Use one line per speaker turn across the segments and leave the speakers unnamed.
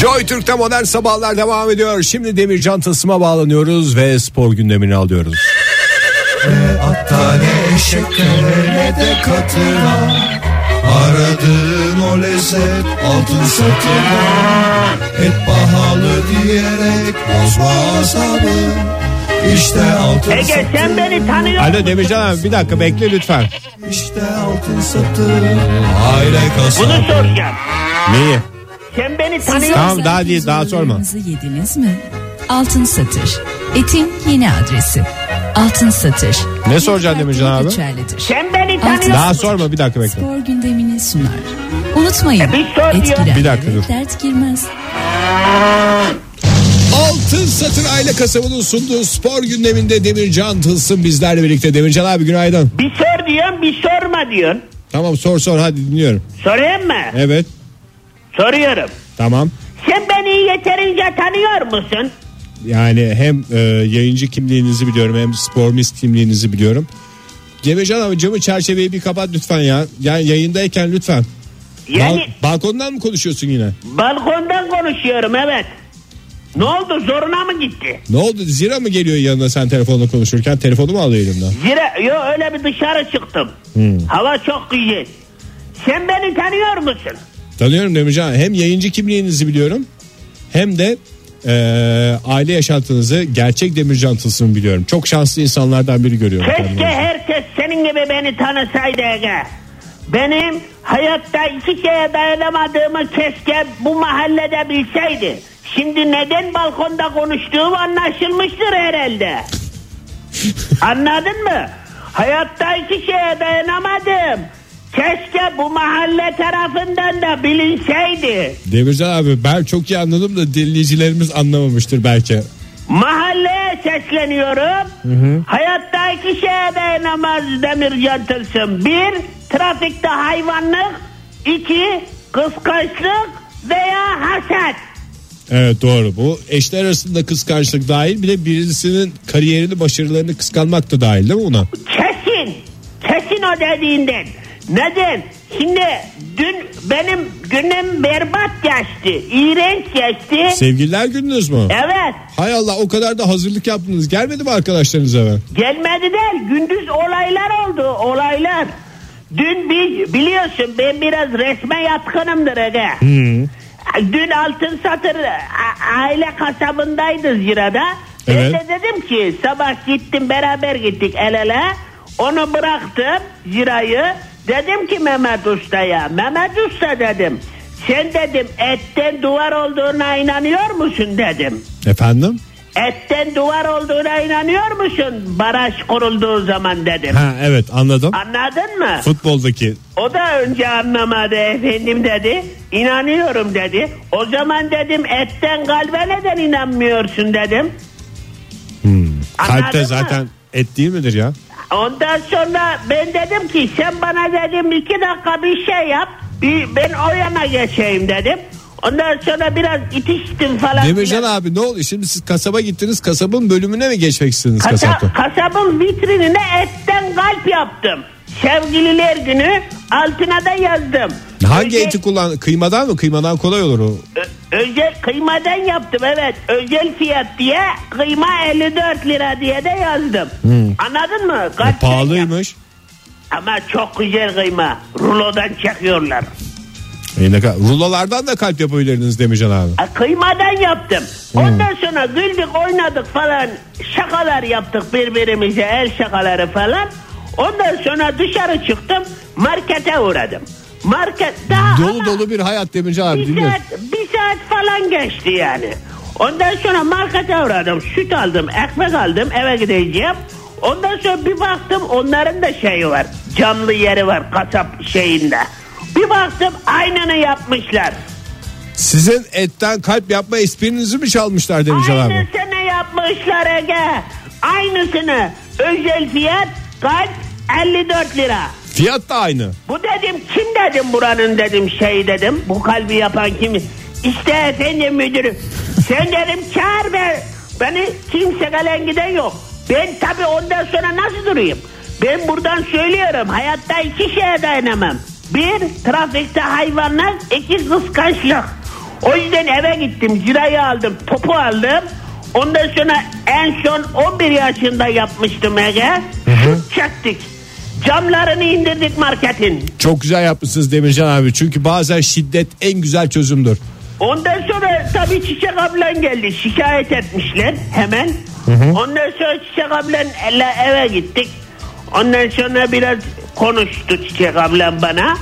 Joy Türk'te modern sabahlar devam ediyor. Şimdi Demircan Tasım'a bağlanıyoruz ve spor gündemini alıyoruz.
Hatta ne eşeklere ne de katına Aradığın o lezzet altın satına Et pahalı diyerek bozma azabı İşte altın
Ege
satı
sen beni tanıyor
Alo
musun?
Demircan abi bir dakika bekle lütfen.
işte altın satı Aile
Bunu
kasabı
soracağım.
Neyi?
Sen beni
Siz
tanıyor musun?
Tamam,
özel
daha değil, daha sorma.
pirzolarınızı yediniz mi? Altın Satır. Etin yeni adresi. Altın Satır.
Ne soracaksın Demircan abi?
Geçerlidir.
Sen beni
Altın
tanıyor
Daha
Satır
sorma, bir dakika bekle.
Spor gündemini sunar. Unutmayın.
E, bir sor
et
diyor.
girer,
Bir dakika dur.
Dert girmez.
Altın Satır Aile Kasabı'nın sunduğu spor gündeminde Demircan Tılsım bizlerle birlikte. Demircan abi günaydın.
Bir sor diyorsun bir sorma diyorsun.
Tamam sor sor hadi dinliyorum.
Sorayım mı?
Evet
Soruyorum.
tamam.
Sen beni yeterince tanıyor musun?
Yani hem e, yayıncı kimliğinizi biliyorum hem spor mis kimliğinizi biliyorum. Demircan abi camı çerçeveyi bir kapat lütfen ya. Yani yayındayken lütfen. Bal-
Yani
balkondan mı konuşuyorsun yine?
balkondan konuşuyorum evet. Ne oldu zoruna mı gitti?
Ne oldu zira mı geliyor yanına sen telefonla konuşurken? Telefonu mu alıyor elimden?
Zira, yo öyle bir dışarı çıktım. Hava çok güzel. Sen beni tanıyor musun?
Tanıyorum Demircan. Hem yayıncı kimliğinizi biliyorum hem de e, aile yaşantınızı gerçek Demircan Tılsım'ı biliyorum. Çok şanslı insanlardan biri görüyorum.
Keşke
kendimi.
herkes senin gibi beni tanısaydı Ege. Benim hayatta iki şeye dayanamadığımı keşke bu mahallede bilseydi. Şimdi neden balkonda konuştuğum anlaşılmıştır herhalde. Anladın mı? Hayatta iki şeye dayanamadım. Keşke bu mahalle tarafından da bilinseydi.
Demircan abi ben çok iyi anladım da dinleyicilerimiz anlamamıştır belki.
Mahalleye sesleniyorum. Hayatta iki şeye dayanamaz Demircan Tılsım. Bir, trafikte hayvanlık. iki kıskançlık veya haset.
Evet doğru bu eşler arasında kıskançlık dahil bir de birisinin kariyerini başarılarını kıskanmak da dahil değil mi ona?
Kesin. Kesin o dediğinden. Neden? Şimdi dün benim günüm berbat geçti. iğrenç geçti.
Sevgililer gününüz mü?
Evet.
Hay Allah o kadar da hazırlık yaptınız gelmedi mi arkadaşlarınız eve?
Gelmedi değil gündüz olaylar oldu olaylar. Dün bir biliyorsun ben biraz resme yatkınımdır Ege. Dün altın satır a- aile kasabındaydı zirada.
Evet.
Ben de dedim ki sabah gittim beraber gittik el ele. Onu bıraktım zirayı. Dedim ki Mehmet Usta'ya Mehmet Usta dedim. Sen dedim etten duvar olduğuna inanıyor musun dedim.
Efendim?
Etten duvar olduğuna inanıyor musun? Baraj kurulduğu zaman dedim.
Ha evet anladım.
Anladın mı?
Futboldaki
O da önce anlamadı efendim dedi. İnanıyorum dedi. O zaman dedim etten kalbe neden inanmıyorsun dedim. Anladın
Hmm. kalpte
mı?
zaten et değil midir ya?
Ondan sonra ben dedim ki sen bana dedim iki dakika bir şey yap. Bir, ben o yana geçeyim dedim. Ondan sonra biraz itiştim falan.
Demircan abi ne oldu? Şimdi siz kasaba gittiniz. Kasabın bölümüne mi geçmek istediniz
Kasa,
kasapta?
kasabın vitrinine etten kalp yaptım. Sevgililer günü altına da yazdım.
Hangi
Özel-
eti kullan? Kıymadan mı? Kıymadan kolay olur o.
ö- özel kıymadan yaptım evet. Özel fiyat diye kıyma 54 lira diye de yazdım. Anladın mı? Kaç şey yap-
Hmm. E, Pahalıymış.
Ama çok güzel kıyma. Rulodan çekiyorlar.
E ne kadar- Rulolardan da kalp yapabilirdiniz Demircan abi.
A, Kıymadan yaptım.
Hmm.
Ondan sonra güldük oynadık falan şakalar yaptık birbirimize el şakaları falan. Ondan sonra dışarı çıktım markete uğradım. Market daha
Dolu
ama
dolu bir hayat Demircan abi
bir şey-
dinliyorum.
saat, bir saat falan geçti yani. Ondan sonra markete uğradım süt aldım ekmek aldım eve gideceğim. Ondan sonra bir baktım onların da şeyi var camlı yeri var kasap şeyinde. Bir baktım aynını yapmışlar.
Sizin etten kalp yapma esprinizi mi çalmışlar Demircan abi?
Aynısını yapmışlar Ege. Aynısını. Özel fiyat kaç? 54 lira.
Fiyat da aynı.
Bu dedim kim dedim buranın dedim şey dedim. Bu kalbi yapan kim? İşte efendim müdürüm. Sen dedim çağır be. Beni kimse gelen giden yok. Ben tabii ondan sonra nasıl durayım? Ben buradan söylüyorum. Hayatta iki şeye dayanamam. Bir, trafikte hayvanlar. iki kıskançlık. O yüzden eve gittim cirayı aldım topu aldım. Ondan sonra en son 11 yaşında yapmıştım Ege. Şut çektik. Camlarını indirdik marketin.
Çok güzel yapmışsınız Demircan abi. Çünkü bazen şiddet en güzel çözümdür.
Ondan sonra tabii Çiçek ablan geldi. Şikayet etmişler hemen. Ondan sonra Çiçek ablanla eve gittik. Ondan sonra biraz konuştu Çiçek ablan bana.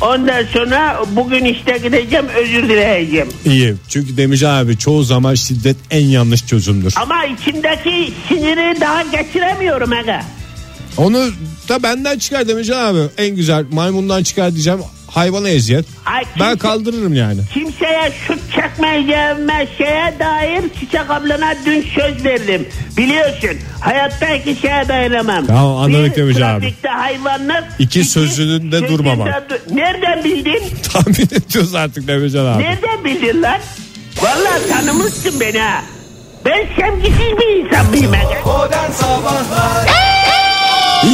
Ondan sonra bugün işte gideceğim özür dileyeceğim.
İyi. Çünkü Demircan abi çoğu zaman şiddet en yanlış çözümdür.
Ama içimdeki siniri daha geçiremiyorum aga.
Onu da benden çıkar Demircan abi. En güzel maymundan çıkar diyeceğim. Hayvana eziyet.
Ay,
Ben
kimse-
kaldırırım yani.
Kimseye şut çekmeyeceğime şeye dair Çiçek ablana dün söz verdim. Biliyorsun hayatta iki şeye dayanamam.
Tamam, anladık
Bir,
Demir abi.
trafikte hayvanlık.
İki, sözünün de
sözünde
durmamak.
du- Nereden bildin?
Tahmin ediyoruz artık Demircan abi.
Nereden bildin lan? Vallahi tanımışsın beni ha. Ben sevgisiz bir insan mıyım? ben?
Modern Sabahlar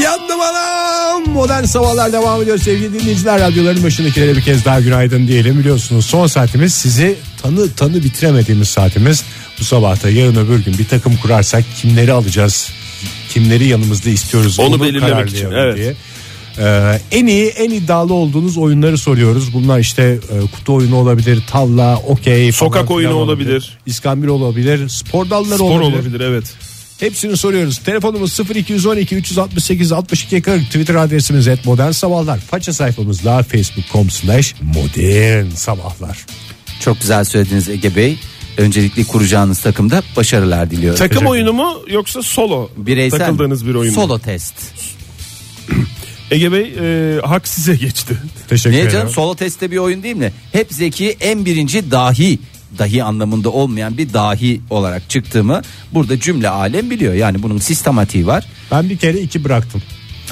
Yandım anam. Modern sabahlar devam ediyor sevgili dinleyiciler. Radyoların başındakilere bir kez daha günaydın diyelim. Biliyorsunuz son saatimiz sizi tanı tanı bitiremediğimiz saatimiz. Bu sabahta yarın öbür gün bir takım kurarsak kimleri alacağız? Kimleri yanımızda istiyoruz?
Onu belirlemek için,
kararlayalım
evet.
diye. Ee, en iyi en iddialı olduğunuz oyunları soruyoruz. Bunlar işte e, kutu oyunu olabilir, tavla, okey, falan
Sokak
filan
oyunu olabilir.
İskambil olabilir, spor dalları
Spor
olabilir.
olabilir evet.
Hepsini soruyoruz. Telefonumuz 0212 368 62 40. Twitter adresimiz et modern sabahlar. Faça sayfamız la facebook.com slash modern sabahlar.
Çok güzel söylediniz Ege Bey. Öncelikle kuracağınız takımda başarılar diliyorum.
Takım oyunu mu yoksa solo?
Bireysel
takıldığınız bir oyun mu?
Solo test.
Ege Bey e, hak size geçti.
Teşekkür
Niye
ederim.
canım solo testte bir oyun değil mi? Hep zeki en birinci dahi dahi anlamında olmayan bir dahi olarak çıktığımı burada cümle alem biliyor. Yani bunun sistematiği var.
Ben bir kere iki bıraktım.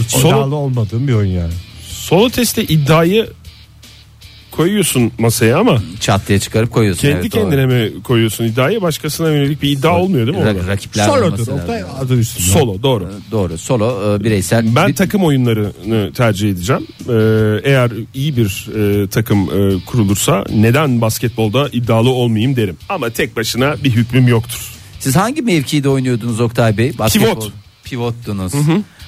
Hiç
Solo-
iddialı olmadığım bir oyun yani.
Solo testte iddiayı koyuyorsun masaya ama
Çat diye çıkarıp koyuyorsun.
kendi
Evet, doğru.
kendine mi koyuyorsun iddiayı başkasına yönelik bir iddia olmuyor değil mi?
Ra-
orada?
rakipler
Solo'dur.
olması lazım.
Oktay adı üstünde.
Solo doğru.
Doğru solo e, bireysel.
Ben
Bir-
takım oyunlarını tercih edeceğim. Ee, eğer iyi bir e, takım e, kurulursa neden basketbolda iddialı olmayayım derim. Ama tek başına bir hükmüm yoktur.
Siz hangi mevkide oynuyordunuz Oktay Bey? Basketbol-
Pivot.
Pivottunuz.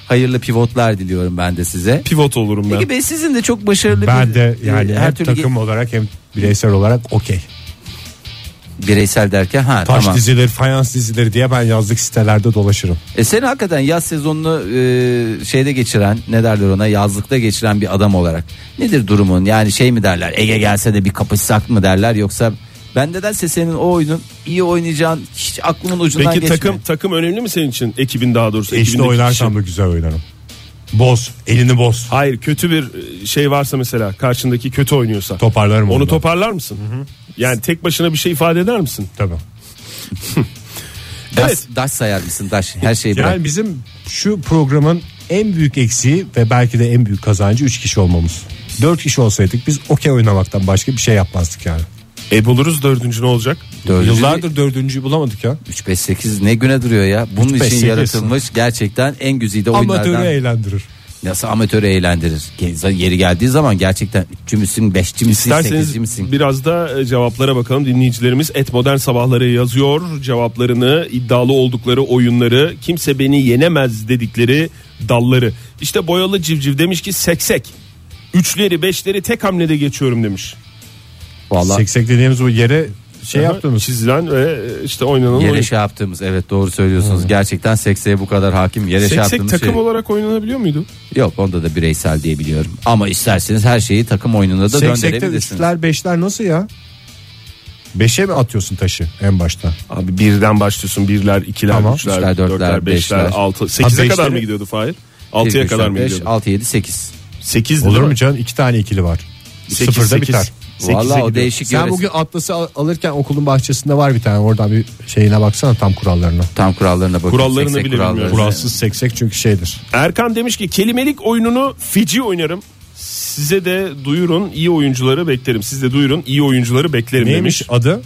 Hayırlı pivotlar diliyorum ben de size.
Pivot olurum ben.
Peki Bey sizin de çok başarılı
Ben
bir-
de yani
e,
hem takım olarak hem bireysel olarak okey.
bireysel derken ha
Taş
tamam.
dizileri, fayans dizileri diye ben yazlık sitelerde dolaşırım.
E sen hakikaten yaz sezonunu e, şeyde geçiren ne derler ona yazlıkta geçiren bir adam olarak nedir durumun yani şey mi derler Ege gelse de bir kapışsak mı derler yoksa ben nedense senin o oyunun iyi oynayacağın hiç aklımın ucundan
Peki
geçmiyor.
takım takım önemli mi senin için? Ekibin daha doğrusu.
Eşli
ekibindeki kişi.
oynarsam da güzel oynarım. Boz, elini boz.
Hayır kötü bir şey varsa mesela karşındaki kötü oynuyorsa.
Toparlarım
Onu
onu.
toparlar mısın? Yani tek başına bir şey ifade eder misin?
Tabii.
Daş,
Evet.
daş sayar mısın daş her şeyi bırak.
Yani bizim şu programın en büyük eksiği ve belki de en büyük kazancı 3 kişi olmamız. 4 kişi olsaydık biz okey oynamaktan başka bir şey yapmazdık yani.
E buluruz dördüncü ne olacak?
Dördüncü
Yıllardır dördüncüyü bulamadık ya.
3 5 8 ne güne duruyor ya. Bunun
beş,
için
sekiz.
yaratılmış gerçekten en güzide oyunlardan.
Amatörü eğlendirir.
Nasıl amatörü eğlendirir. Ge- Yeri geldiği zaman gerçekten üçüncü müsün, beşçi misin,
İsterseniz
sekizci misin?
biraz da e, cevaplara bakalım. Dinleyicilerimiz et modern sabahları yazıyor. Cevaplarını, iddialı oldukları oyunları, kimse beni yenemez dedikleri dalları. İşte boyalı civciv demiş ki seksek. Üçleri beşleri tek hamlede geçiyorum demiş.
Vallahi
Seksek dediğimiz bu yere şey
Aha,
yaptığımız
Çizilen ve e, işte oynanan oyun.
Yere şey yaptığımız evet doğru söylüyorsunuz. Gerçekten sekseye bu kadar hakim. Yere şey
Seksek
yaptığımız
takım
şey.
olarak oynanabiliyor muydu?
Yok onda da bireysel diye biliyorum. Ama isterseniz her şeyi takım oyununa da
Seksekte
döndürebilirsiniz.
üçler beşler nasıl ya? Beşe mi atıyorsun taşı en başta?
Abi birden başlıyorsun birler, ikiler,
Tamam.
üçler,
Üçler, dörtler,
dörtler, beşler,
beşler.
altı. Sekize kadar
beşleri-
mı gidiyordu Fahir? Altıya kadar mı gidiyordu?
6 7 8.
Sekiz
Olur mu canım? İki tane ikili var.
Sekiz,
Sıfırda
sekiz.
biter.
Sekize
Vallahi o
gidiyor.
değişik
Sen
yöresi-
bugün atlası al- alırken okulun bahçesinde var bir tane. Oradan bir şeyine baksana tam kurallarına.
tam kurallarına bakın.
Kurallarını
Seksek
bile
kuralları.
bilmiyorum.
Kuralsız seksek çünkü şeydir.
Erkan demiş ki kelimelik oyununu Fiji oynarım. Size de duyurun iyi oyuncuları beklerim. Siz de duyurun iyi oyuncuları beklerim
Neymiş
demiş.
adı?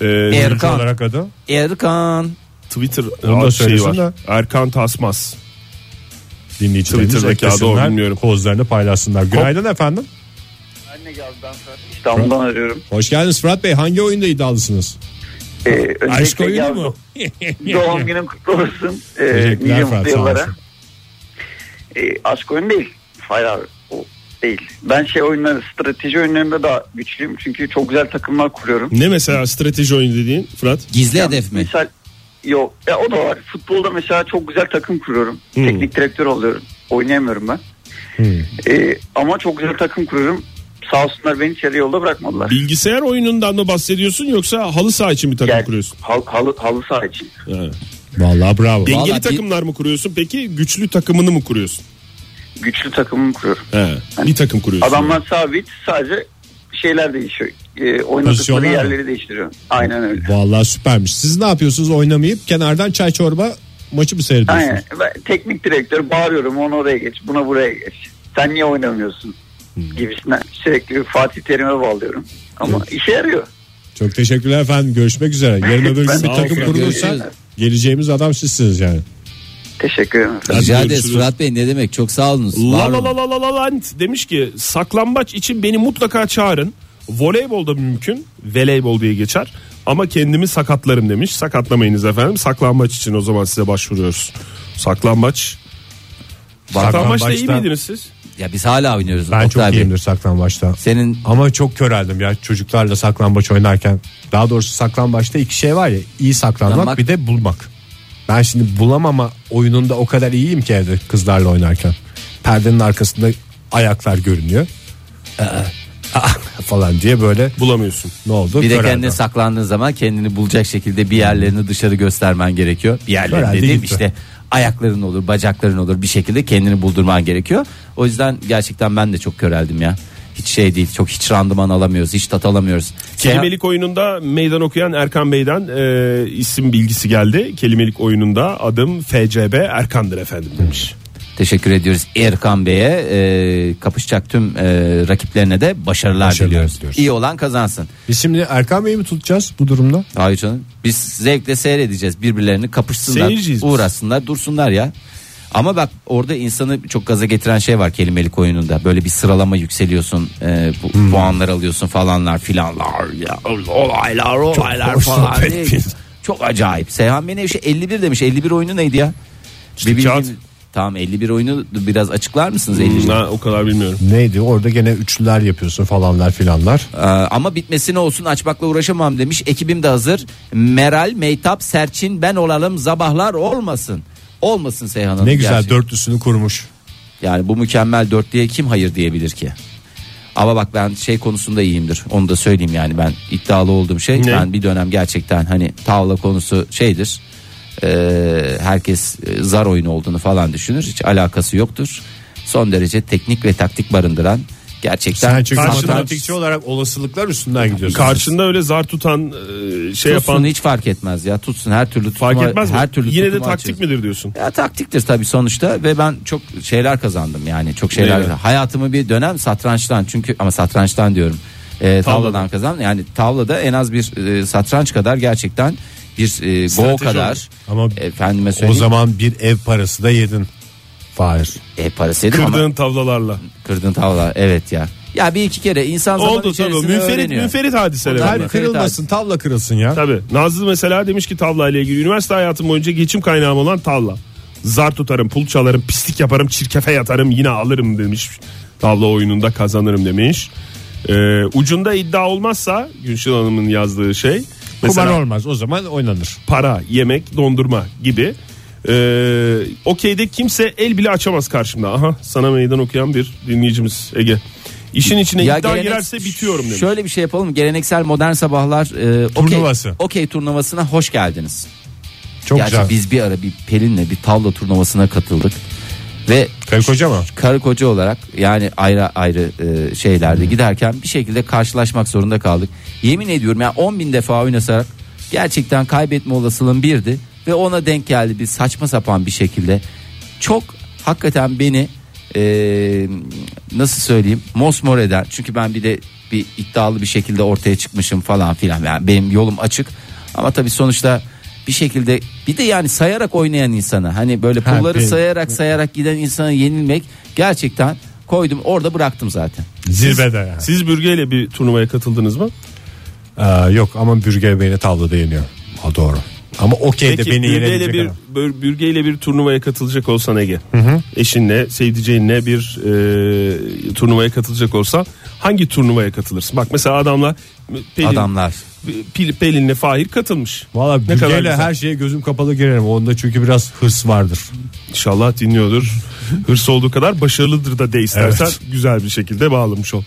Ee,
Er-
Erkan.
Erkan.
olarak adı.
Erkan.
Twitter
Onu da
ad şeyi
söylesin
var.
de.
Erkan Tasmaz.
Dinleyicilerimiz
Twitter'daki adı o,
eklesinler,
bilmiyorum.
Kozlarını paylaşsınlar. Günaydın efendim.
Yine geldi ben Fırat. İstanbul'dan arıyorum.
Hoş geldiniz Fırat Bey. Hangi oyunda iddialısınız?
Ee,
Aşk
öncelikle
oyunu
yaz-
mu?
Doğum günüm kutlu olsun. Ee,
Teşekkürler
nice
Fırat, sağ
mutlu yıllara.
olasın.
Ee, aşk oyun değil. Hayır abi, o değil. Ben şey oyunları strateji oyunlarında daha güçlüyüm. Çünkü çok güzel takımlar kuruyorum.
Ne mesela strateji oyunu dediğin Fırat?
Gizli hedef mi?
Mesela yok ya o da var. Futbolda mesela çok güzel takım kuruyorum.
Hmm.
Teknik direktör oluyorum. Oynayamıyorum ben. Ee, ama çok güzel takım kuruyorum. Sağ olsunlar beni çeri yolda bırakmadılar.
Bilgisayar oyunundan mı bahsediyorsun yoksa halı saha için bir takım
Yani
kuruyorsun?
hal- halı, halı saha için.
Yani.
Vallahi bravo.
Dengeli
bir-
takımlar mı kuruyorsun peki güçlü takımını mı kuruyorsun?
Güçlü takımımı kuruyorum.
He, bir takım kuruyorsun.
Adamlar sabit sadece şeyler değişiyor. Ee,
Pozisyonlar mı?
oynadıkları yerleri değiştiriyor. Aynen öyle.
Vallahi süpermiş. Siz ne yapıyorsunuz oynamayıp kenardan çay çorba maçı mı seyrediyorsunuz?
Aynen. Ben teknik direktör bağırıyorum onu oraya geç buna buraya geç. Sen niye oynamıyorsun?
Hmm.
Gibisinden sürekli Fatih Terim'e bağlıyorum. Ama işe yarıyor.
Çok teşekkürler efendim. Görüşmek üzere. Yarın öbür gün
Ben-
bir
Sağ ol
takım
Fırat.
Görüşürüz.
kurulursa geleceğimiz adam sizsiniz yani.
Teşekkür ederim. efendim.
Rica
Hadi
ederiz
görüşürüz.
Fırat Bey ne demek çok sağ olunuz. Var
La la
olun.
la la la la land demiş ki saklambaç için beni mutlaka çağırın. Voleybolda mümkün. Voleybol diye geçer. Ama kendimi sakatlarım demiş. Sakatlamayınız efendim. Saklambaç için o zaman size başvuruyoruz. Saklambaç. Saklambaçta iyi
Saklambaçta-
miydiniz siz?
Ya biz hala oynuyoruz.
Ben
Oktay
çok
Bey.
iyiyimdir saklambaçta.
Senin
Ama çok köreldim ya çocuklarla saklambaç oynarken. Daha doğrusu saklambaçta iki şey var ya. iyi saklanmak
Saklanmak.
bir de bulmak. Ben şimdi bulamama oyununda o kadar iyiyim ki evde kızlarla oynarken. Perdenin arkasında ayaklar görünüyor. Ee, aa, falan diye böyle
Bulamıyorsun.
ne oldu?
bir de
Köreldim.
kendine saklandığın zaman kendini bulacak şekilde bir yerlerini dışarı göstermen gerekiyor. Bir yerlerini
Herhalde
dediğim
gitti.
işte ayakların olur bacakların olur bir şekilde kendini buldurman gerekiyor. O yüzden gerçekten ben de çok köreldim ya. Hiç şey değil çok hiç randıman alamıyoruz hiç tat alamıyoruz.
Kelimelik oyununda meydan okuyan Erkan Bey'den e, isim bilgisi geldi. Kelimelik oyununda adım FCB Erkan'dır efendim demiş.
Teşekkür ediyoruz Erkan Bey'e Ee, kapışacak tüm e, rakiplerine de başarılar,
Başarılar
diliyoruz.
diliyoruz.
İyi olan kazansın.
Biz şimdi Erkan Bey'i mi tutacağız bu durumda?
Hayır canım. Biz zevkle seyredeceğiz. Birbirlerini kapışsınlar,
Seyirciyiz biz.
uğraşsınlar, dursunlar ya. Ama bak orada insanı çok gaza getiren şey var kelimelik oyununda. Böyle bir sıralama yükseliyorsun, e, bu,
Hmm.
puanlar alıyorsun falanlar filanlar. Ya, olaylar olaylar
hoş
falan.
sohbet
Ne-
biz.
Çok acayip. Seyhan Menevşe 51 demiş. 51 oyunu neydi ya? Bir bildiğim-
kağıt.
Tamam 51 oyunu biraz açıklar mısınız 51?
Hmm, ha, o kadar bilmiyorum.
Neydi orada gene üçlüler yapıyorsun falanlar filanlar.
Ee, ama bitmesine olsun açmakla uğraşamam demiş. Ekibim de hazır. Meral, Meytap, Serçin ben olalım zabahlar olmasın. Olmasın Seyhan Hanım.
Ne güzel
gerçekten.
dörtlüsünü kurmuş.
Yani bu mükemmel dörtlüye kim hayır diyebilir ki? Ama bak ben şey konusunda iyiyimdir. Onu da söyleyeyim yani ben iddialı olduğum şey.
Ne?
Ben bir dönem gerçekten hani tavla konusu şeydir. Ee, herkes e, zar oyunu olduğunu falan düşünür. Hiç alakası yoktur. Son derece teknik ve taktik barındıran gerçekten
Sen çünkü
Karşıdan-
matematikçi olarak olasılıklar üstünden gidiyorsun.
Karşında öyle zar tutan e, şey
tutsun
yapan
hiç fark etmez ya tutsun her türlü tutuma,
fark etmez mi?
her türlü
Yine de
tutuma
taktik
açığız.
midir diyorsun?
Ya taktiktir tabii sonuçta ve ben çok şeyler kazandım yani çok şeyler
Neyle?
hayatımı bir dönem satrançtan çünkü ama satrançtan diyorum e, tavladan
Tavladan.
kazandım yani tavlada en az bir e, satranç kadar gerçekten bir e, go
Strateji
kadar
Ama
efendime
O
söyleyeyim
zaman bir ev parası da yedin. Fahir.
e, parası yedim
Kırdığın
ama
tavlalarla.
kırdın tavla evet ya ya bir iki kere insan zaman
Oldu tabii.
içerisinde
Münferit,
öğreniyor.
münferit
Onlar-
hadiseler.
Her kırılmasın tavla kırılsın ya.
Tabii. Nazlı mesela demiş ki tavla ile ilgili üniversite hayatım boyunca geçim kaynağım olan tavla. Zar tutarım, pul çalarım, pislik yaparım, çirkefe yatarım yine alırım demiş. Tavla oyununda kazanırım demiş. Ee, ucunda iddia olmazsa Günşil Hanım'ın yazdığı şey.
Kumar
Mesela
olmaz o zaman oynanır.
para, yemek, dondurma gibi. Ee, Okey'de kimse el bile açamaz karşımda. Aha sana meydan okuyan bir dinleyicimiz Ege. İşin içine
Ya
iddia
gelenek-
girerse bitiyorum demiş.
Şöyle bir şey yapalım. Geleneksel modern sabahlar e, okey-
Turnuvası.
Okey turnuvasına hoş geldiniz.
Çok
Gerçi
güzel.
biz bir ara bir Pelin'le bir tavla turnuvasına katıldık. Ve
Karı koca mı?
karı koca olarak yani ayrı ayrı e, şeylerde giderken bir şekilde karşılaşmak zorunda kaldık. Yemin ediyorum yani 10 bin defa oynasarak gerçekten kaybetme olasılığım birdi. Ve ona denk geldi bir saçma sapan bir şekilde. Çok hakikaten beni e, nasıl söyleyeyim mosmor eden. Çünkü ben bir de bir iddialı bir şekilde ortaya çıkmışım falan filan. Yani benim yolum açık. Ama tabii sonuçta bir şekilde bir de yani sayarak oynayan insana hani böyle
Ha,
pulları
bir-
sayarak sayarak giden insana yenilmek gerçekten Koydum orada bıraktım zaten.
Zirvede yani.
Siz bürgeyle bir turnuvaya katıldınız mı?
Aa, yok ama bürge beni tavlada yeniyor. Ha, doğru. Ama okey de
Peki
beni
bürgeyle
yenebilecek
bir,
adam.
bür- bürgeyle bir turnuvaya katılacak olsan Ege. Eşinle, sevdiceğinle bir e, turnuvaya katılacak olsan hangi turnuvaya katılırsın? Bak mesela adamla Pelin,
Adamlar.
Pil- Pelin'le Fahir katılmış.
Valla
Ne kadar
bürgeyle
güzel.
her şeye gözüm kapalı girerim. Onda çünkü biraz hırs vardır.
İnşallah dinliyordur. Hırs olduğu kadar başarılıdır da de istersen
Evet.
güzel bir şekilde bağlamış ol.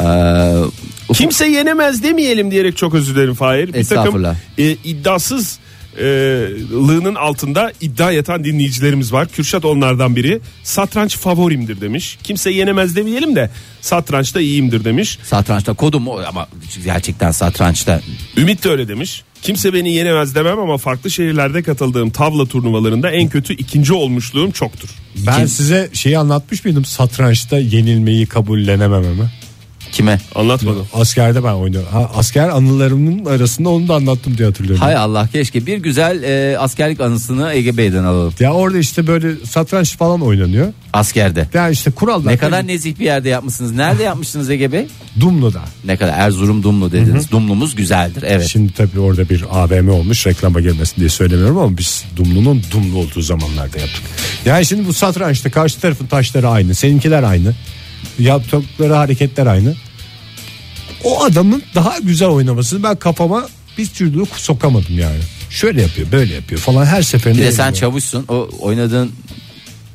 Ee, ufuk-
Kimse yenemez demeyelim diyerek çok özür dilerim Fahir. Bir takım
Estağfurullah.
e, iddiasız e, lığının altında iddia yatan dinleyicilerimiz var. Kürşat onlardan biri. Satranç favorimdir demiş. Kimse yenemez demeyelim de satrançta iyiyimdir demiş.
Satrançta kodum o ama gerçekten satrançta
Ümit de öyle demiş. Kimse beni yenemez demem ama farklı şehirlerde katıldığım tavla turnuvalarında en kötü ikinci olmuşluğum çoktur.
Ben size şeyi anlatmış mıydım? Satrançta yenilmeyi kabullenemememi.
kime?
Anlatmadım.
Askerde ben oynuyorum. Ha, asker anılarımın arasında onu da anlattım diye hatırlıyorum.
Hay Allah keşke bir güzel e, askerlik anısını Ege Bey'den alalım.
Ya orada işte böyle satranç falan oynanıyor.
Askerde.
Yani işte kurallar.
Ne kadar nezih bir yerde yapmışsınız. Nerede yapmışsınız Ege Bey?
Dumlu'da.
Ne kadar Erzurum Dumlu dediniz. Dumlumuz güzeldir. Evet.
Şimdi tabii orada bir AVM olmuş reklama girmesin diye söylemiyorum ama biz Dumlu'nun Dumlu olduğu zamanlarda yaptık. Yani şimdi bu satrançta karşı tarafın taşları aynı, seninkiler aynı. Yaptıkları hareketler aynı. O adamın daha güzel oynamasını ben kafama bir türlü sokamadım yani. Şöyle yapıyor, böyle yapıyor falan her seferinde.
bir de sen
yeniliyor.
çavuşsun. O oynadığın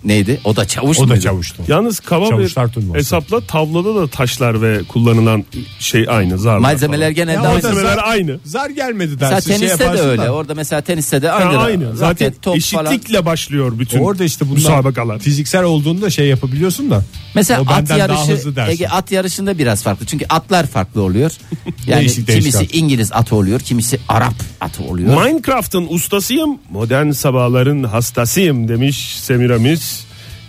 neydi? O da çavuş
O da
muydu?
çavuştu.
Yalnız kaba bir
Çavuşlar turnuvası.
hesapla tavlada da taşlar ve kullanılan şey aynı zarlar.
Malzemeler
falan.
Ya
genelde
o da
aynı.
Malzemeler
zar-
aynı.
Zar gelmedi dersin.
Mesela
şey
teniste de
yaparsın
öyle.
da.
Orada mesela teniste de
Ha,
aynı.
aynı.
Raket,
Zaten
top falan.
eşitlikle başlıyor bütün
Orada işte bunlar
müsabakalar.
fiziksel olduğunda şey yapabiliyorsun da.
Mesela
o
at
benden daha
yarışı
hızlı dersin.
Ege at yarışında biraz farklı. Çünkü atlar farklı oluyor. Yani
Değişik, değişik
kimisi
at.
İngiliz atı oluyor, kimisi Arap atı oluyor.
Minecraft'ın ustasıyım, modern sabahların hastasıyım demiş Semiramis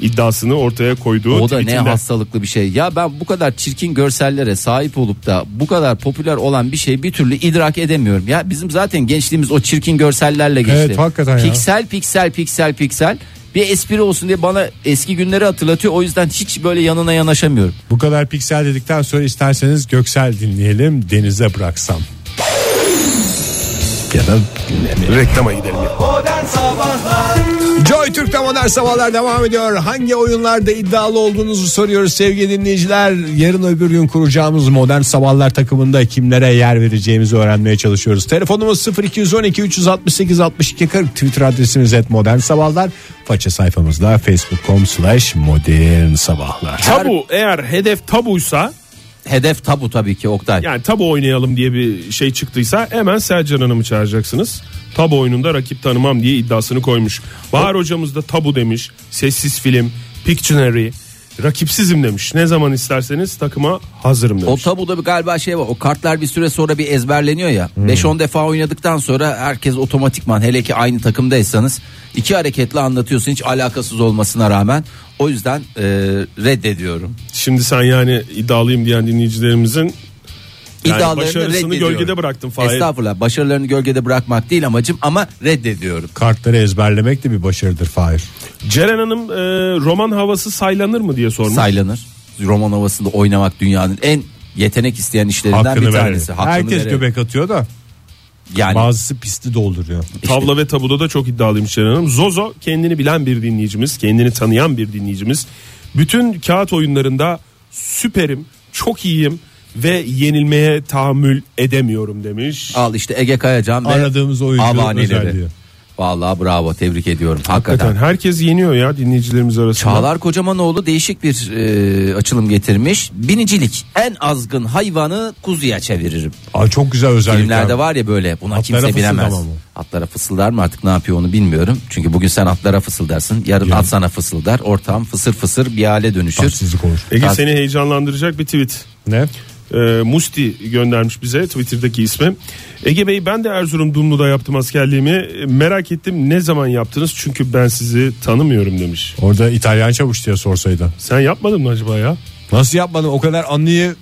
iddiasını ortaya koyduğu
o da ne
tweetinde.
hastalıklı bir şey. Ya ben bu kadar çirkin görsellere sahip olup da bu kadar popüler olan bir şey bir türlü idrak edemiyorum. Ya bizim zaten gençliğimiz o çirkin görsellerle geçti.
Evet, hakikaten ya.
Piksel piksel piksel piksel bir espri olsun diye bana eski günleri hatırlatıyor. O yüzden hiç böyle yanına yanaşamıyorum.
Bu kadar piksel dedikten sonra isterseniz Göksel dinleyelim. Denize bıraksam. Ya da
Reklama gidelim.
Modern Sabahlar
Joy Türk'te modern sabahlar devam ediyor. Hangi oyunlarda iddialı olduğunuzu soruyoruz sevgili dinleyiciler. Yarın öbür gün kuracağımız modern sabahlar takımında kimlere yer vereceğimizi öğrenmeye çalışıyoruz. Telefonumuz 0212 368 62 40 Twitter adresimiz et modern sabahlar. Faça sayfamızda facebook.com slash modern sabahlar.
Tabu eğer hedef tabuysa
Hedef tabu tabii ki Oktay.
yani tabu oynayalım diye bir şey çıktıysa hemen Selcan Hanım'ı çağıracaksınız. Tabu oyununda rakip tanımam diye iddiasını koymuş. Bahar hocamız da tabu demiş. Sessiz film, Pictionary, rakipsizim demiş. Ne zaman isterseniz takıma hazırım
O
demiş.
tabuda bir galiba şey var. O kartlar bir süre sonra bir ezberleniyor ya.
Hmm.
5-10 defa oynadıktan sonra herkes otomatikman hele ki aynı takımdaysanız iki hareketle anlatıyorsun hiç alakasız olmasına rağmen. O yüzden e, reddediyorum.
Şimdi sen yani iddialıyım diyen dinleyicilerimizin Yani başarısını gölgede bıraktın Fahir.
Estağfurullah. Başarılarını gölgede bırakmak değil amacım ama reddediyorum.
Kartları ezberlemek de bir başarıdır Fahir.
Ceren Hanım e, roman havası saylanır mı diye sormuş.
Saylanır. Roman havasında oynamak dünyanın en yetenek isteyen işlerinden
Hakkını
bir
verir.
tanesi. Hakkını
Herkes
verelim.
göbek atıyor da
Yani
bazısı pisti dolduruyor.
Tavla ve tabuda da çok iddialıymış Ceren Hanım. Zozo kendini bilen bir dinleyicimiz, kendini tanıyan bir dinleyicimiz. Bütün kağıt oyunlarında süperim, çok iyiyim ve yenilmeye tahammül edemiyorum demiş.
al işte Ege Kayacan ve
Aradığımız oyuncunun
avaneleri.
özelliği.
Vallahi bravo tebrik ediyorum. Hakikaten.
Hakikaten herkes yeniyor ya dinleyicilerimiz arasında.
Çağlar Kocamanoğlu değişik bir e, açılım getirmiş. Binicilik en azgın hayvanı kuzuya çeviririm.
Aa, çok güzel özellikler.
Filmlerde var ya böyle buna
Atlara
kimse bilemez.
fısıldama mı?
Atlara fısıldar mı artık ne yapıyor onu bilmiyorum. Çünkü bugün sen atlara fısıldarsın. Yarın at sana fısıldar. Ortam fısır fısır bir hale dönüşür.
Tatsızlık olur.
Ege seni heyecanlandıracak bir tweet.
Ne?
Ee, Musti göndermiş bize Twitter'daki ismi. Ege Bey ben de Erzurum Dumlu'da yaptım askerliğimi. E, Merak ettim ne zaman yaptınız çünkü ben sizi tanımıyorum demiş.
Orada İtalyan çavuş diye sorsaydı.
Sen yapmadın mı acaba ya?
Nasıl yapmadım o kadar anlıyı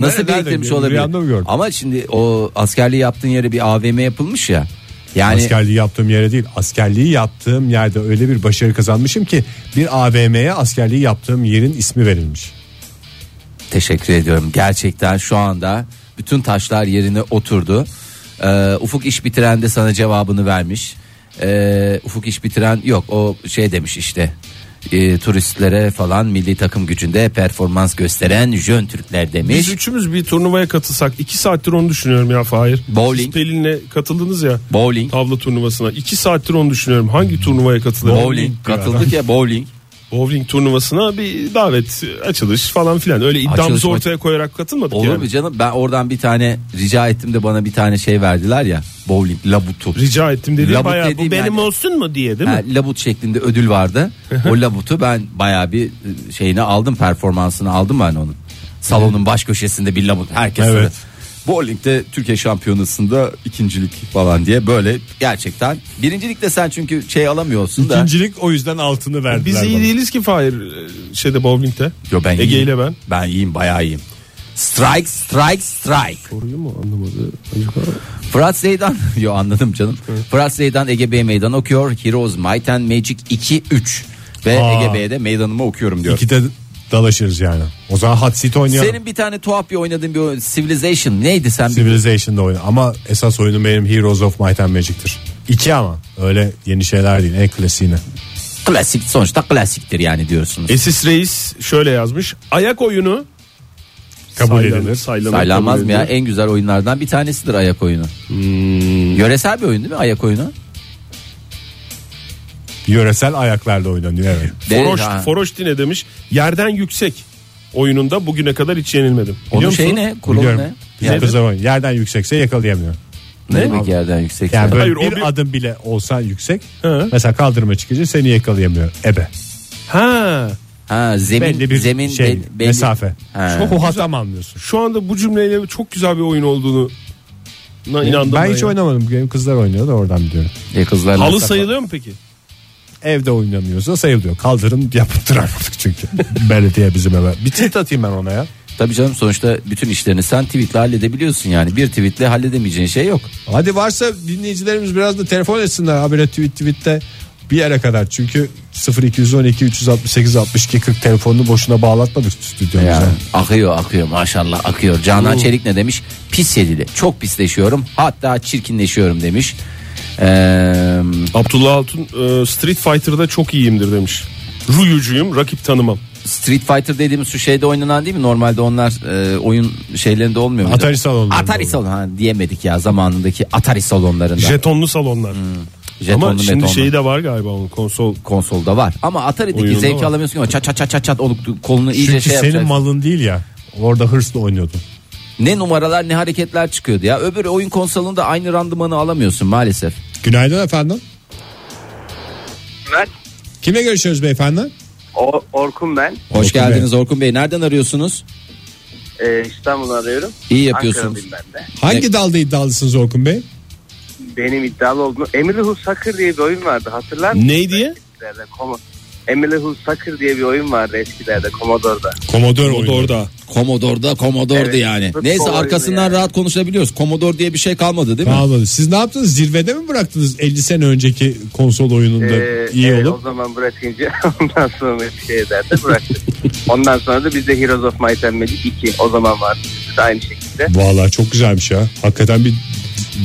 Nasıl
Nereden
biriktirmiş
biliyorum? Rüyamda mı
olabilir?
gördüm?
Ama şimdi o askerliği yaptığın yere bir AVM yapılmış ya. Yani
Askerliği yaptığım yere değil askerliği yaptığım yerde öyle bir başarı kazanmışım ki bir AVM'ye askerliği yaptığım yerin ismi verilmiş.
teşekkür ediyorum. Gerçekten şu anda bütün taşlar yerine oturdu. Ee, Ufuk iş bitiren de sana cevabını vermiş. Ee, Ufuk iş bitiren yok o şey demiş işte. e, turistlere falan milli takım gücünde performans gösteren Jön Türkler demiş.
Biz üçümüz bir turnuvaya katılsak 2 saattir onu düşünüyorum ya Fahir.
Bowling.
Siz Pelin'le katıldınız ya.
Bowling.
Tavla turnuvasına. 2 saattir onu düşünüyorum. Hangi turnuvaya katılırım?
Bowling katıldık ya bowling.
Bowling turnuvasına bir davet, açılış falan filan. Öyle
Açılış
iddiamızı
maç-
ortaya koyarak katılmadık
Olur
yani.
mu canım? Ben oradan bir tane rica ettim de bana bir tane şey verdiler ya. Bowling labutu.
Rica ettim dedi.
Labut
Bayağı, bu
dediğim
benim
yani-
olsun mu diye değil mi?
Ha, labut şeklinde ödül vardı. o labutu ben bayağı bir e, şeyini aldım performansını aldım ben onun. Salonun baş köşesinde bir labut herkes.
Evet.
Evet. Bowling'de Türkiye şampiyonasında ikincilik falan diye böyle gerçekten. Birincilikte sen çünkü şey alamıyorsun da.
İkincilik o yüzden altını verdiler
Biz iyi
bana.
değiliz ki Fahir e, şeyde bowlingde.
Yo, ben
Ege
iyiyim.
ile ben.
Ben iyiyim bayağı iyiyim. Strike strike strike.
Doğruyu mu anlamadı?
Fırat Zeydan. Yo anladım canım. Fırat Zeydan Ege Bey meydan okuyor. Heroes Might and Magic 2 3 ve
Aa.
Ege Bey'e de meydanımı okuyorum diyor.
İkide dalaşırız yani. O zaman hot seat oynayalım.
Senin bir tane tuhaf bir oynadığın bir oyun Civilization neydi sen bir
Civilization'da oyna. Ama esas oyunum benim Heroes of Might and Magic'tir. İki ama öyle yeni şeyler değil en klasiğine.
klasik sonuçta klasiktir yani diyorsunuz.
E,
Esis Reis şöyle yazmış. Ayak oyunu
Kabul
Saylanır,
edilir.
saylanır,
Saylanmaz
kabul
mı ya
edilir.
en güzel oyunlardan bir tanesidir ayak oyunu.
Hmm.
Yöresel bir oyun değil mi ayak oyunu?
Yöresel ayaklarla oynanıyor evet.
Foroş,
Değil, ha.
Foroşti ne demiş? Yerden yüksek oyununda bugüne kadar hiç yenilmedim.
Onun
Biliyor
şey
musun?
ne? Kurulu
Biliyorum.
ne?
Bizim
Yani-
kızlar oynuyor. yerden yüksekse yakalayamıyor.
ne demek yerden yüksek?
Yani böyle
Hayır, o
bir
bir-
adım bile olsan yüksek.
Hı.
Mesela kaldırıma çıkınca seni yakalayamıyor. Ebe.
Ha.
Ha zemin
Belli bir
zemin
şey,
bel- belli-
mesafe.
Ha.
Çok o hatam anlıyorsun.
Şu anda bu cümleyle çok güzel bir oyun olduğunu inandım.
ben hiç
ya.
oynamadım. Benim kızlar oynuyor da oradan biliyorum.
E, kızlar
Halı
nasıl-
sayılıyor mu peki?
Evde oynanıyorsa sayılıyor. Kaldırım yaptıramadık çünkü. Belediye bizim eve. Bir tweet atayım ben ona ya.
Tabii canım sonuçta bütün işlerini sen tweetle halledebiliyorsun yani. Bir tweetle halledemeyeceğin şey yok.
Hadi varsa dinleyicilerimiz biraz da telefon etsinler habire tweet tweette bir yere kadar. Çünkü 0212 368 62 40 telefonunu boşuna bağlatmadık stüdyomuza.
Yani akıyor akıyor maşallah akıyor. Canan Çelik ne demiş? Pis yedili. Çok pisleşiyorum. Hatta çirkinleşiyorum demiş. Ee,
Abdullah Altun e, Street Fighter'da çok iyiyimdir demiş. Ruyucuyum rakip tanımam.
Street Fighter dediğimiz şu şeyde oynanan değil mi? Normalde onlar e, oyun şeylerinde olmuyor. muydu?
Atari salonlarında
Atari
oluyor.
salon ha, diyemedik ya zamanındaki Atari salonlarında.
Jetonlu salonlar.
Hmm. Jetonlu,
Ama şimdi
metonlu.
şeyi de var galiba onun konsol.
konsolda var. Ama Atari'deki
Oyunda
zevki
var.
alamıyorsun ki o çat çat çat çat çat olup kolunu iyice
Çünkü
şey
senin
yapacaksın.
malın değil ya. Orada hırsla oynuyordun.
ne numaralar ne hareketler çıkıyordu ya. Öbür oyun konsolunda aynı randımanı alamıyorsun maalesef.
Günaydın efendim.
Ben
Kimle görüşüyoruz beyefendi?
O- Orkun ben.
Hoş
Orkun
geldiniz Orkun Bey. Nereden arıyorsunuz?
Ee, İstanbul'u arıyorum.
İyi yapıyorsunuz.
Ankara'dayım ben de.
Hangi dalda iddialısınız Orkun Bey?
Benim iddialı olduğum Emily Who Sucker diye bir oyun vardı hatırlar mısın?
Ne diye?
Eskilerde, Komo- Emily Who Sucker diye bir oyun vardı eskilerde Commodore'da.
Komodor
Orada.
Komodore'da Komodore'du
Evet,
yani.
futbol
Neyse
oyunu
arkasından
yani.
rahat konuşabiliyoruz. Komodor diye bir şey kalmadı değil mi?
Anladım. Siz ne yaptınız? Zirvede mi bıraktınız 50 sene önceki konsol oyununda
Ee,
iyi
evet, O
olup?
zaman bırakınca ondan sonra şey ederdi bıraktık. ondan sonra da bizde Heroes of Might and Magic 2 o zaman vardı. Biz de aynı şekilde.
Vallahi çok güzelmiş ya. Hakikaten bir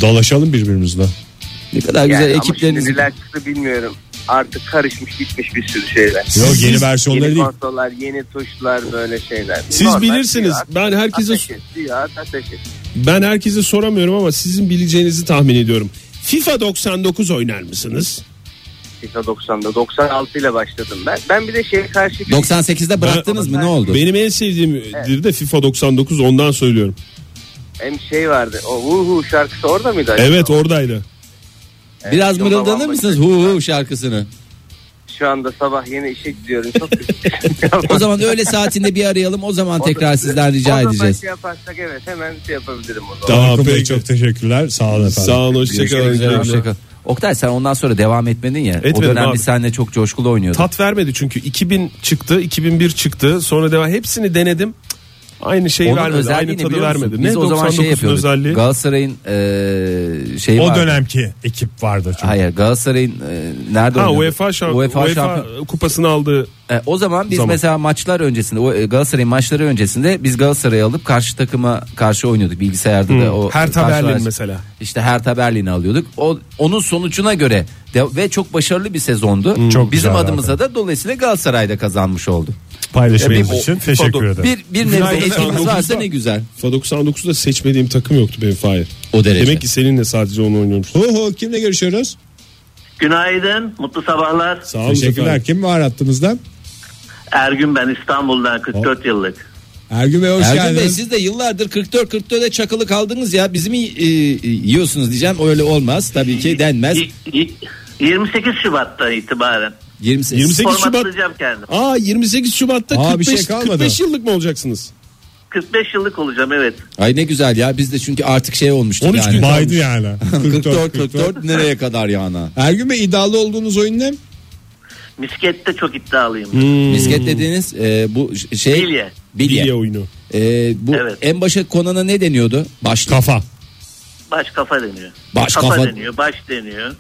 dalaşalım birbirimizle.
Ne kadar güzel
Yani ama
ekipleriniz.
şimdi neler çıktı bilmiyorum. Artık karışmış gitmiş bir sürü şeyler.
Yok yeni versiyonları
Yeni
değil.
konsollar, yeni tuşlar böyle şeyler.
Siz bilirsiniz. Ben herkese
ateş et, diyor, ateş et.
Ben herkese soramıyorum ama sizin bileceğinizi tahmin ediyorum. FIFA 99 oynar mısınız?
FIFA 90'da 96 ile başladım ben. Ben bir de şeye karşı
98'de bıraktınız mı ne oldu?
Benim en sevdiğimdir de FIFA 99 ondan söylüyorum.
hem şey vardı. O Uhu şarkısı orada mıydı? acaba?
Evet oradaydı.
Biraz
Yolda
mırıldanır
bambaşka
mısınız
bir-
hu hu şarkısını?
Şu anda sabah yeni işe gidiyorum. Çok
O zaman öğle saatinde bir arayalım. O zaman tekrar sizden rica
O zaman
edeceğiz.
şey yaparsak evet hemen şey yapabilirim o zaman.
Tamam
Orkun Bey
peki.
çok teşekkürler. Sağ olun efendim.
Sağ olun hoşçakalın.
Hoşçakal. Oktay sen ondan sonra devam etmedin ya. o
Etmedim
dönem
abi.
biz seninle çok coşkulu oynuyorduk.
Tat vermedi çünkü 2000 çıktı 2001 çıktı sonra devam hepsini denedim. Cık,
aynı şeyi
Onun
vermedi.
özelliği
Aynı
ne
tadı
biliyor musun?
vermedi.
Biz o zaman şey
99'un
yapıyorduk.
özelliği.
Galatasaray'ın eee şeyi
O
vardı.
dönemki ekip vardı çünkü.
Hayır Galatasaray'ın eee, nerede
Ha
oynuyordu?
UEFA, şamp-
UEFA
UEFA,
şampiyon-
kupasını aldı.
E, o zaman biz
Zaman.
mesela maçlar öncesinde o, e, Galatasaray'ın maçları öncesinde biz Galatasaray'ı alıp karşı takıma karşı oynuyorduk bilgisayarda da o
Her
karşılar-
Berlin mesela.
İşte Hertha Berlin'i alıyorduk. O onun sonucuna göre de- ve çok başarılı bir sezondu.
Çok
Bizim
güzel
adımıza da dolayısıyla Galatasaray'da kazanmış oldu.
Paylaşımınız
Ya bir-
için
o-
teşekkür
pardon,
ederim.
Bir bir nebze
Günaydın.
etkimiz varsa ne güzel.
Fa 99'da seçmediğim takım yoktu benim Fahir.
O derece.
Demek ki seninle sadece onu oynuyormuş. Ho ho kimle görüşüyoruz?
Günaydın, mutlu sabahlar.
Sağ olun
Teşekkürler.
efendim.
Kim var hattımızdan?
Ergün ben İstanbul'dan 44 yıllık.
Ergün Bey hoş
Ergün Bey
geldiniz.
siz de yıllardır 44 44'e çakılı kaldınız ya. Bizim e, yiyorsunuz diyeceğim. Öyle olmaz tabii ki denmez.
Y- y- 28 Şubat'tan itibaren.
28
28 Şubat.
Formatlayacağım kendimi.
Aa 28 Şubat'ta
Aa, bir
45,
şey kalmadı.
45 yıllık mı olacaksınız?
45 yıllık olacağım evet.
Ay ne güzel ya. Biz de çünkü artık şey olmuştuk
13
yani.
gün baydı yani.
44 44 nereye kadar yana?
Ergün Bey iddialı olduğunuz oyun ne?
Miskette çok iddialıyım.
Misket dediğiniz e, bu ş- şey
Bilye.
Bilye.
Hmm. Bilye oyunu.
E, bu
Evet.
en başa konana ne deniyordu? Başlık.
Kafa.
Baş kafa deniyor.
Baş
kafa,
kafa-
deniyor, baş deniyor.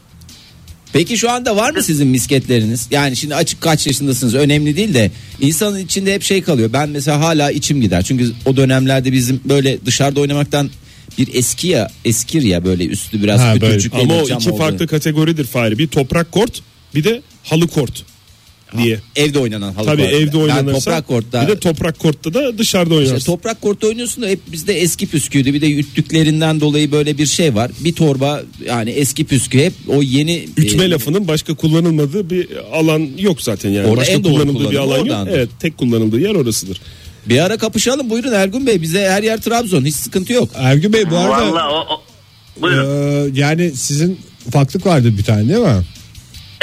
Peki şu anda var mı sizin misketleriniz? Yani şimdi açık kaç yaşındasınız önemli değil de insanın içinde hep şey kalıyor. Ben mesela hala içim gider. Çünkü o dönemlerde bizim böyle dışarıda oynamaktan bir eski ya eskir ya böyle üstü biraz
Ha,
ha,
böyle.
Ama o iki farklı kategoridir Fahir. Bir toprak kort bir de halı kort diye.
Evde oynanan halı
Tabii
var.
evde oynanırsa.
Ben toprak kortta.
Bir de toprak kortta da dışarıda oynarsın.
İşte toprak kortta oynuyorsun da hep bizde eski püsküydü. Bir de yüttüklerinden dolayı böyle bir şey var. Bir torba yani eski püskü hep o yeni
Ütme
e,
lafının başka kullanılmadığı bir alan yok zaten yani.
Orada
başka
en doğru
kullanıldığı bir
kullanımı
alan yok.
oradandır.
Evet, tek kullanıldığı yer orasıdır.
Bir ara kapışalım buyurun Ergun Bey bize her yer Trabzon hiç sıkıntı yok.
Ergün Bey bu arada
Vallahi o, o- Buyurun.
e, yani sizin ufaklık vardı bir tane değil mi?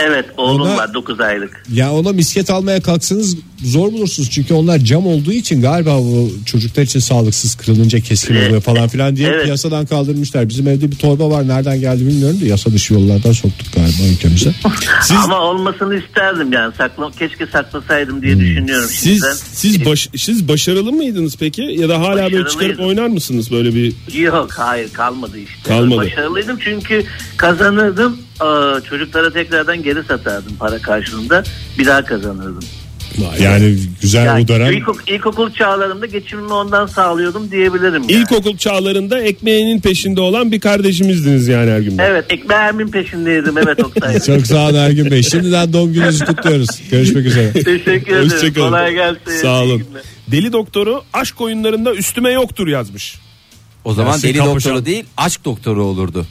evet oğlum
ona-
var 9 aylık.
Ya ona misket almaya kalksanız zor bulursunuz. Çünkü onlar cam olduğu için galiba bu çocuklar için sağlıksız kırılınca keskin
Evet.
oluyor falan filan diye
Evet.
piyasadan kaldırmışlar. Bizim evde bir torba var nereden geldi bilmiyorum da yasa dışı yollardan soktuk galiba ülkemize.
Siz
Ama olmasını isterdim yani. Sakla, keşke saklasaydım diye düşünüyorum.
Hmm. siz
şimdiden.
siz baş, siz başarılı mıydınız peki ya da hala böyle çıkarıp
Başarılıydım.
oynar mısınız böyle bir
Yok hayır kalmadı işte.
Kalmadı.
Başarılıydım çünkü kazanırdım. Aa, çocuklara tekrardan geri satardım para karşılığında. Bir daha kazanırdım.
Yani güzel
Yani
o dönem.
ilkok- ilkokul çağlarımda geçimimi ondan sağlıyordum diyebilirim. yani.
İlkokul çağlarında ekmeğinin peşinde olan bir kardeşimizdiniz yani her gün.
Evet ekmeğimin peşindeydim evet Oktay.
Çok sağ olun Ergün Bey. Şimdiden doğum gününüzü kutluyoruz. Görüşmek üzere.
Teşekkür ederim.
Hoşçakalın.
Kolay gelsin.
Sağ
İyi
olun.
günler.
Deli doktoru aşk oyunlarında üstüme yoktur yazmış.
O zaman
Ersin
deli
Kapışan.
doktoru değil aşk doktoru olurdu.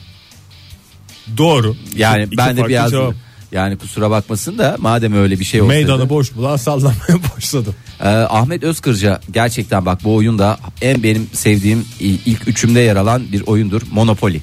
Doğru.
Yani
İki
ben de
farklı
biraz
cevap.
yani kusura bakmasın da madem öyle bir şey olsaydı.
Meydanı boş bulan sallamaya başladım.
Ee, Ahmet Özkırca gerçekten bak bu oyun da en benim sevdiğim i- ilk üçümde yer alan bir oyundur. Monopoly.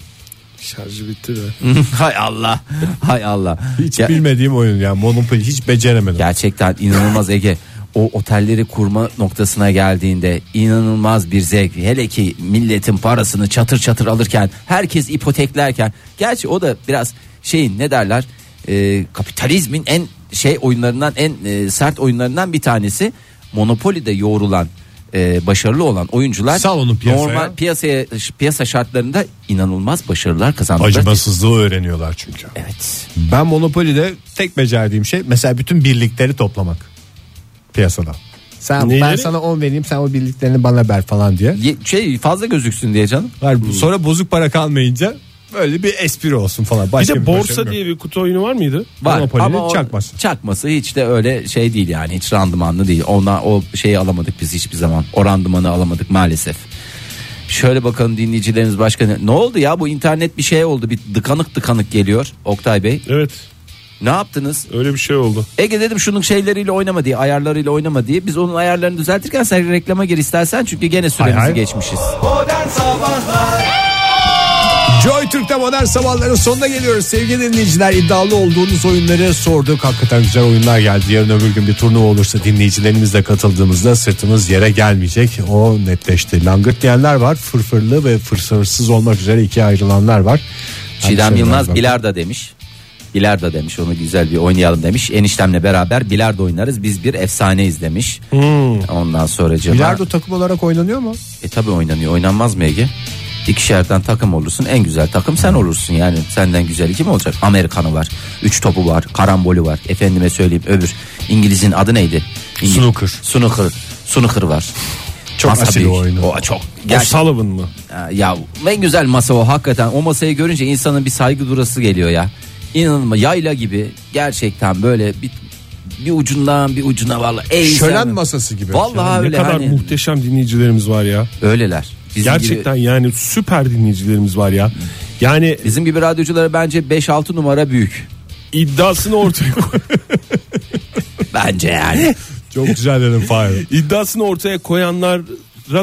Şarjı bitti de.
hay Allah. Hay Allah.
Hiç
Ya-
bilmediğim oyun yani Monopoly hiç beceremedim.
Gerçekten inanılmaz Ege. O otelleri kurma noktasına geldiğinde inanılmaz bir zevk. Hele ki milletin parasını çatır çatır alırken, herkes ipoteklerken. Gerçi o da biraz şeyin ne derler? e, kapitalizmin en şey oyunlarından en e, sert oyunlarından bir tanesi. Monopoly'de yoğrulan e, başarılı olan oyuncular
Sal onu piyasaya.
normal piyasaya piyasa şartlarında inanılmaz başarılar kazandılar.
Acımasızlığı öğreniyorlar çünkü.
Evet.
Ben Monopoly'de tek becerdiğim şey mesela bütün birlikleri toplamak piyasada. Sen, ben
Neyleri?
sana 10 vereyim sen o birliklerini bana ver falan diye.
Ye- şey fazla gözüksün diye canım.
Ver, Sonra bozuk para kalmayınca böyle bir espri olsun falan.
Bir
Başka
de
başarım
borsa
yok.
diye bir kutu oyunu var mıydı?
Var
Monopoly'nin
ama o
çakması.
Çakması hiç de öyle şey değil yani hiç randımanlı değil. Ondan o şeyi alamadık biz hiçbir zaman. O randımanı alamadık maalesef. Şöyle bakalım dinleyicilerimiz başka ne, ne oldu ya bu internet bir şey oldu bir dıkanık dıkanık geliyor Oktay Bey.
Evet
Ne yaptınız?
öyle bir şey oldu.
Ege dedim şunun şeyleriyle oynama diye ayarlarıyla oynama diye biz onun ayarlarını düzeltirken sen reklama gir istersen çünkü gene süremizi
Hay hay.
geçmişiz.
Modern Sabahlar
Joy Türk'te modern sabahların sonuna geliyoruz. Sevgili dinleyiciler iddialı olduğunuz oyunları sorduk. Hakikaten güzel oyunlar geldi. Yarın öbür gün bir turnuva olursa dinleyicilerimizle katıldığımızda sırtımız yere gelmeyecek. O netleşti. Langırt diyenler var. Fırfırlı ve fırsırsız olmak üzere ikiye ayrılanlar var.
Çiğdem
Akşamlar
Yılmaz
var.
bilardo demiş. Bilardo demiş onu güzel bir oynayalım demiş. Eniştemle beraber bilardo oynarız biz bir efsaneyiz demiş. Ondan sonra
Hmm. Bilardo takım olarak oynanıyor mu?
E tabi oynanıyor. Oynanmaz mı Ege? İkişerden takım olursun. En güzel takım sen olursun yani. Senden güzeli kim olacak? Amerikanı var. Üç topu var. Karambolü var. Efendime söyleyeyim öbür. İngiliz'in adı neydi? İngiliz. Snooker. Snooker. var.
Çok asil
büyük.
o oyunu.
O çok. gerçekten-
O'Sullivan mı?
Ha, Ee, Ya en güzel masa o hakikaten. O masayı görünce insanın bir saygı durası geliyor ya. İnanılmaz yayla gibi gerçekten böyle bir, bir ucundan bir ucuna vallahi. Ey
Şölen
insanın-
masası gibi.
Vallahi
Ne
öyle
kadar
hani.
muhteşem dinleyicilerimiz var ya.
Öyleler. Bizim
Gerçekten yani süper dinleyicilerimiz var ya. Yani
Bizim gibi radyoculara bence 5-6 numara büyük.
iddiasını ortaya koy-
Bence yani.
Çok güzel dedim Fahir.
iddiasını ortaya koyanlara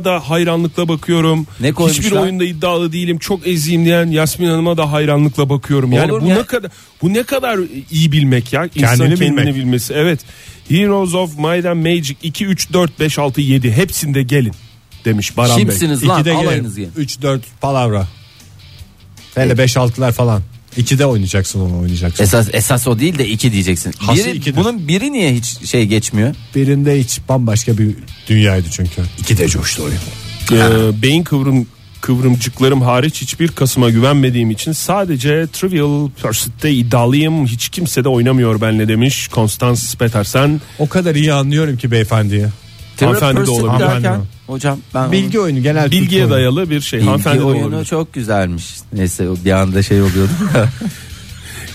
da hayranlıkla bakıyorum.
Ne koymuşlar?
Hiçbir oyunda iddialı değilim. Çok eziyim diyen Yasmin Hanım'a da hayranlıkla bakıyorum. Yani
Olur
bu
mu ya?
ne kadar bu ne kadar iyi bilmek ya. İnsanın
Kendini
kendini,
bilmek.
bilmesi. Evet. Heroes of Might and Magic 2 3 4 5 6 7 hepsinde gelin demiş Baran Bey.
Kimsiniz lan?
İkide
Alayınız gelin.
3-4 palavra. Hele 5-6'lar falan. İkide oynayacaksın onu oynayacaksın.
Esas esas o değil de iki diyeceksin.
Hası
Biri-
ikidir.
bunun biri niye hiç şey geçmiyor?
Birinde hiç bambaşka bir dünyaydı çünkü.
İkide coştu oyun.
Ee, beyin kıvrım kıvrımcıklarım hariç hiçbir kasıma güvenmediğim için sadece Trivial Pursuit'te iddialıyım. Hiç kimse de oynamıyor benle demiş Konstans Petersen.
O kadar iyi anlıyorum ki beyefendiye.
Hanımefendi de olabilir.
Hanımefendi
Hocam ben
Bilgi oyunu genel
Bilgiye
kültür oyunu.
dayalı bir şey.
Bilgi
Hanımefendi de
oyunu
olabilir.
çok güzelmiş. Neyse o bir anda şey oluyordu.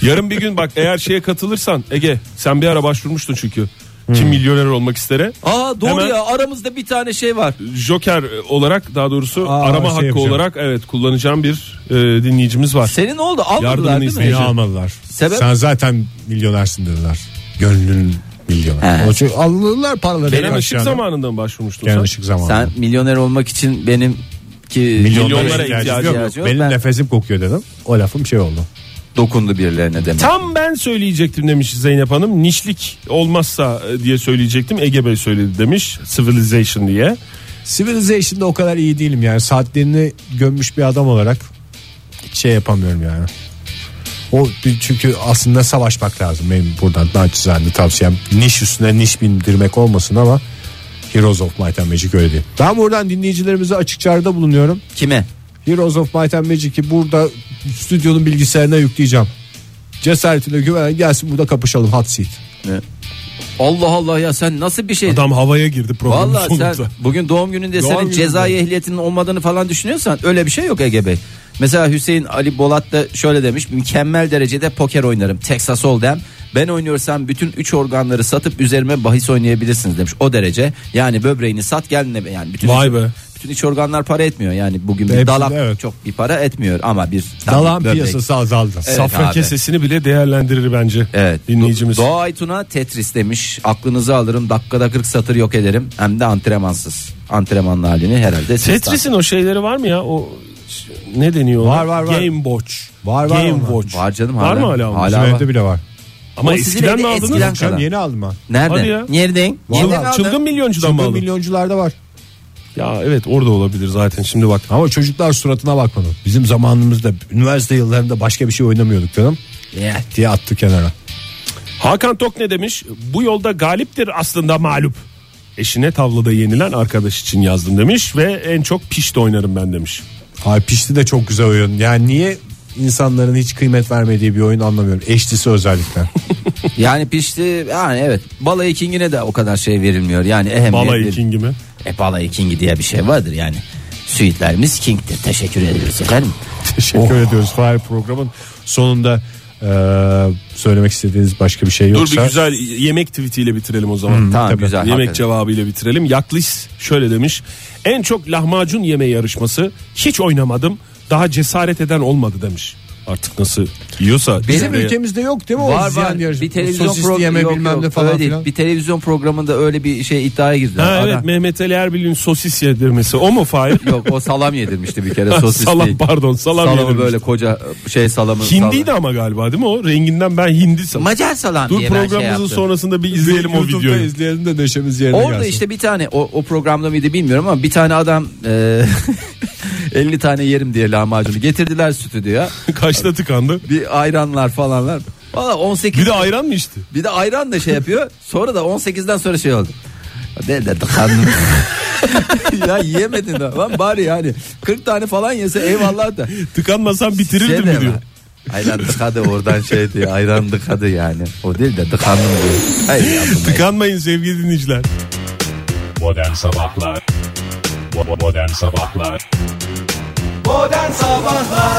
Yarın bir gün bak eğer şeye katılırsan Ege sen bir ara başvurmuştun çünkü. Kim milyoner olmak istere.
Aa doğru
Hemen-
ya aramızda bir tane şey var.
Joker olarak daha doğrusu
Aa,
arama
şey
hakkı
yapacağım.
olarak evet kullanacağım bir e, dinleyicimiz var.
Senin oldu almadılar
Yardımını
değil mi?
Seni almadılar.
Sebep?
Sen zaten milyonersin dediler. Gönlün milyoner.
He.
O çünkü alırlar paraları.
Benim
aşağıdan.
ışık zamanında mı başvurmuştun
Gelen
sen?
ışık zamanı.
Sen milyoner olmak için benim ki
Milyonlara
Milyonlara
ihtiyacı
ihtiyacım yok.
yok.
Benim
Ben-
nefesim kokuyor dedim. O lafım şey oldu.
dokundu birilerine demek.
Tam ben söyleyecektim demiş Zeynep Hanım. Nişlik olmazsa e, diye söyleyecektim. Ege Bey söyledi demiş. Civilization diye.
Civilization'da o kadar iyi değilim yani. Saatlerini gömmüş bir adam olarak hiç şey yapamıyorum yani. O çünkü aslında savaşmak lazım benim buradan naçizane tavsiyem. Niş üstüne niş bindirmek olmasın ama Heroes of Might and Magic öyle değil. Ben buradan dinleyicilerimize açık çağrıda bulunuyorum.
Kime?
Heroes of Might and Magic'i burada stüdyonun bilgisayarına yükleyeceğim. Cesaretine güvenen gelsin burada kapışalım hot seat.
Allah Allah ya sen nasıl bir şey?
Adam havaya girdi programın
Vallahi
sonunda.
sen bugün doğum gününde
Doğum
senin
gününde.
cezai ehliyetinin olmadığını falan düşünüyorsan öyle bir şey yok Ege Bey. Mesela Hüseyin Ali Bolat da şöyle demiş mükemmel derecede poker oynarım Texas Hold'em ben oynuyorsam bütün üç organları satıp üzerime bahis oynayabilirsiniz demiş o derece yani böbreğini sat gel ne yani bütün
Vay be.
bütün iç organlar para etmiyor yani bugün bir
Hepsi-
dalak
evet.
çok bir para etmiyor ama bir tane
Dalan
böbrek-
piyasası azaldı.
Evet
Safra
abi.
kesesini bile değerlendirir bence
Evet.
dinleyicimiz.
Do- Doğa Aytun'a Tetris demiş. Aklınızı alırım dakikada 40 satır yok ederim. Hem de antrenmansız. Antrenmanlı halini herhalde. siz
Tetris'in o şeyleri var mı ya? O ş- ne deniyor? ona?
Var, var, var.
Game Watch.
Var, var
Game
onlar.
Watch.
Var canım
Var
hala.
mı hala? onun?
Hala.
Bizim
Bedava.
evde bile var.
Ama
O sizin
eskiden
evde
mi aldınız?
eskiden-
Canım
kadar.
yeni aldım ben.
Nerede?
Hadi ya.
Nereden? Nereden
Vallahi
aldın?
çılgın milyoncudan mı
Çılgın
aldın?
milyoncularda var.
Ya evet orada olabilir zaten şimdi bak.
Ama çocuklar suratına bakmadı. Bizim zamanımızda üniversite yıllarında başka bir şey oynamıyorduk canım.
Ya.
Diye attı kenara.
Hakan Tok ne demiş? Bu yolda galiptir aslında mağlup. Eşine tavlada yenilen arkadaş için yazdım demiş ve en çok pişti oynarım ben demiş.
Ay pişti de çok güzel oyun. Yani niye insanların hiç kıymet vermediği bir oyun anlamıyorum. Eşlisi özellikle.
Yani pişti. Yani evet. Balayı kingine de o kadar şey verilmiyor. Yani ehemmiyet
Balayı
verilmiyor.
King'i mi?
E balayı kingi diye bir şey vardır yani. Suitlerimiz kingdir. Teşekkür ederiz efendim.
Oh.
Teşekkür ediyoruz. Fahir programın sonunda e, söylemek istediğiniz başka bir şey
Dur
yoksa.
bir güzel yemek tweetiyle bitirelim o zaman.
Tamam
Tabii.
Hmm, güzel.
Yemek
hakikaten.
cevabıyla bitirelim. Yaklis şöyle demiş. En çok lahmacun yeme yarışması hiç oynamadım. Daha cesaret eden olmadı demiş. Artık nasıl yiyorsa.
Bizim
Oraya-
ülkemizde yok değil mi o
Var
ziyan
var
yarışı?
bir televizyon
Sosisli
programı
yeme
yok,
bilmem
yok,
ne falan
öyle değil.
filan.
Bir televizyon programında öyle bir şey iddiaya girdiler.
Ha, evet
Adam-
Mehmet Ali Erbil'in sosis yedirmesi o mu Fahir?
Yok o salam yedirmişti bir kere sosis
salam
değil.
pardon salam,
Salamı
yedirmiş.
böyle koca şey salamı.
Hindiydi ama galiba değil mi o? Renginden ben hindi
salam.
sanırım.
Macar salam
Dur
diye ben şey
programımızın
yaptım.
sonrasında bir izleyelim o
YouTube'da
videoyu.
izleyelim de neşemiz yerine
Orada
gelsin.
işte bir tane o, o programda mıydı bilmiyorum ama bir tane adam e, 50 tane yerim diye lahmacunu getirdiler stüdyoya.
Kaçta tıkandı?
Bir ayranlar falanlar. Valla 18. Bir de ayran mı içti? Bir de ayran da şey yapıyor. Sonra da 18'den sonra şey oldu. Ne de tıkandım. ya yemedin de. Lan bari yani 40 tane falan yese eyvallah da. Tıkanmasan
bitirirdim mi diyor.
Ayran tıkadı oradan şey diyor. Ayran tıkadı yani. O değil de tıkandım diyor. Hayır, yapmayın.
Tıkanmayın sevgili dinleyiciler.
Modern Sabahlar Bo- Modern Sabahlar
Modern Sabahlar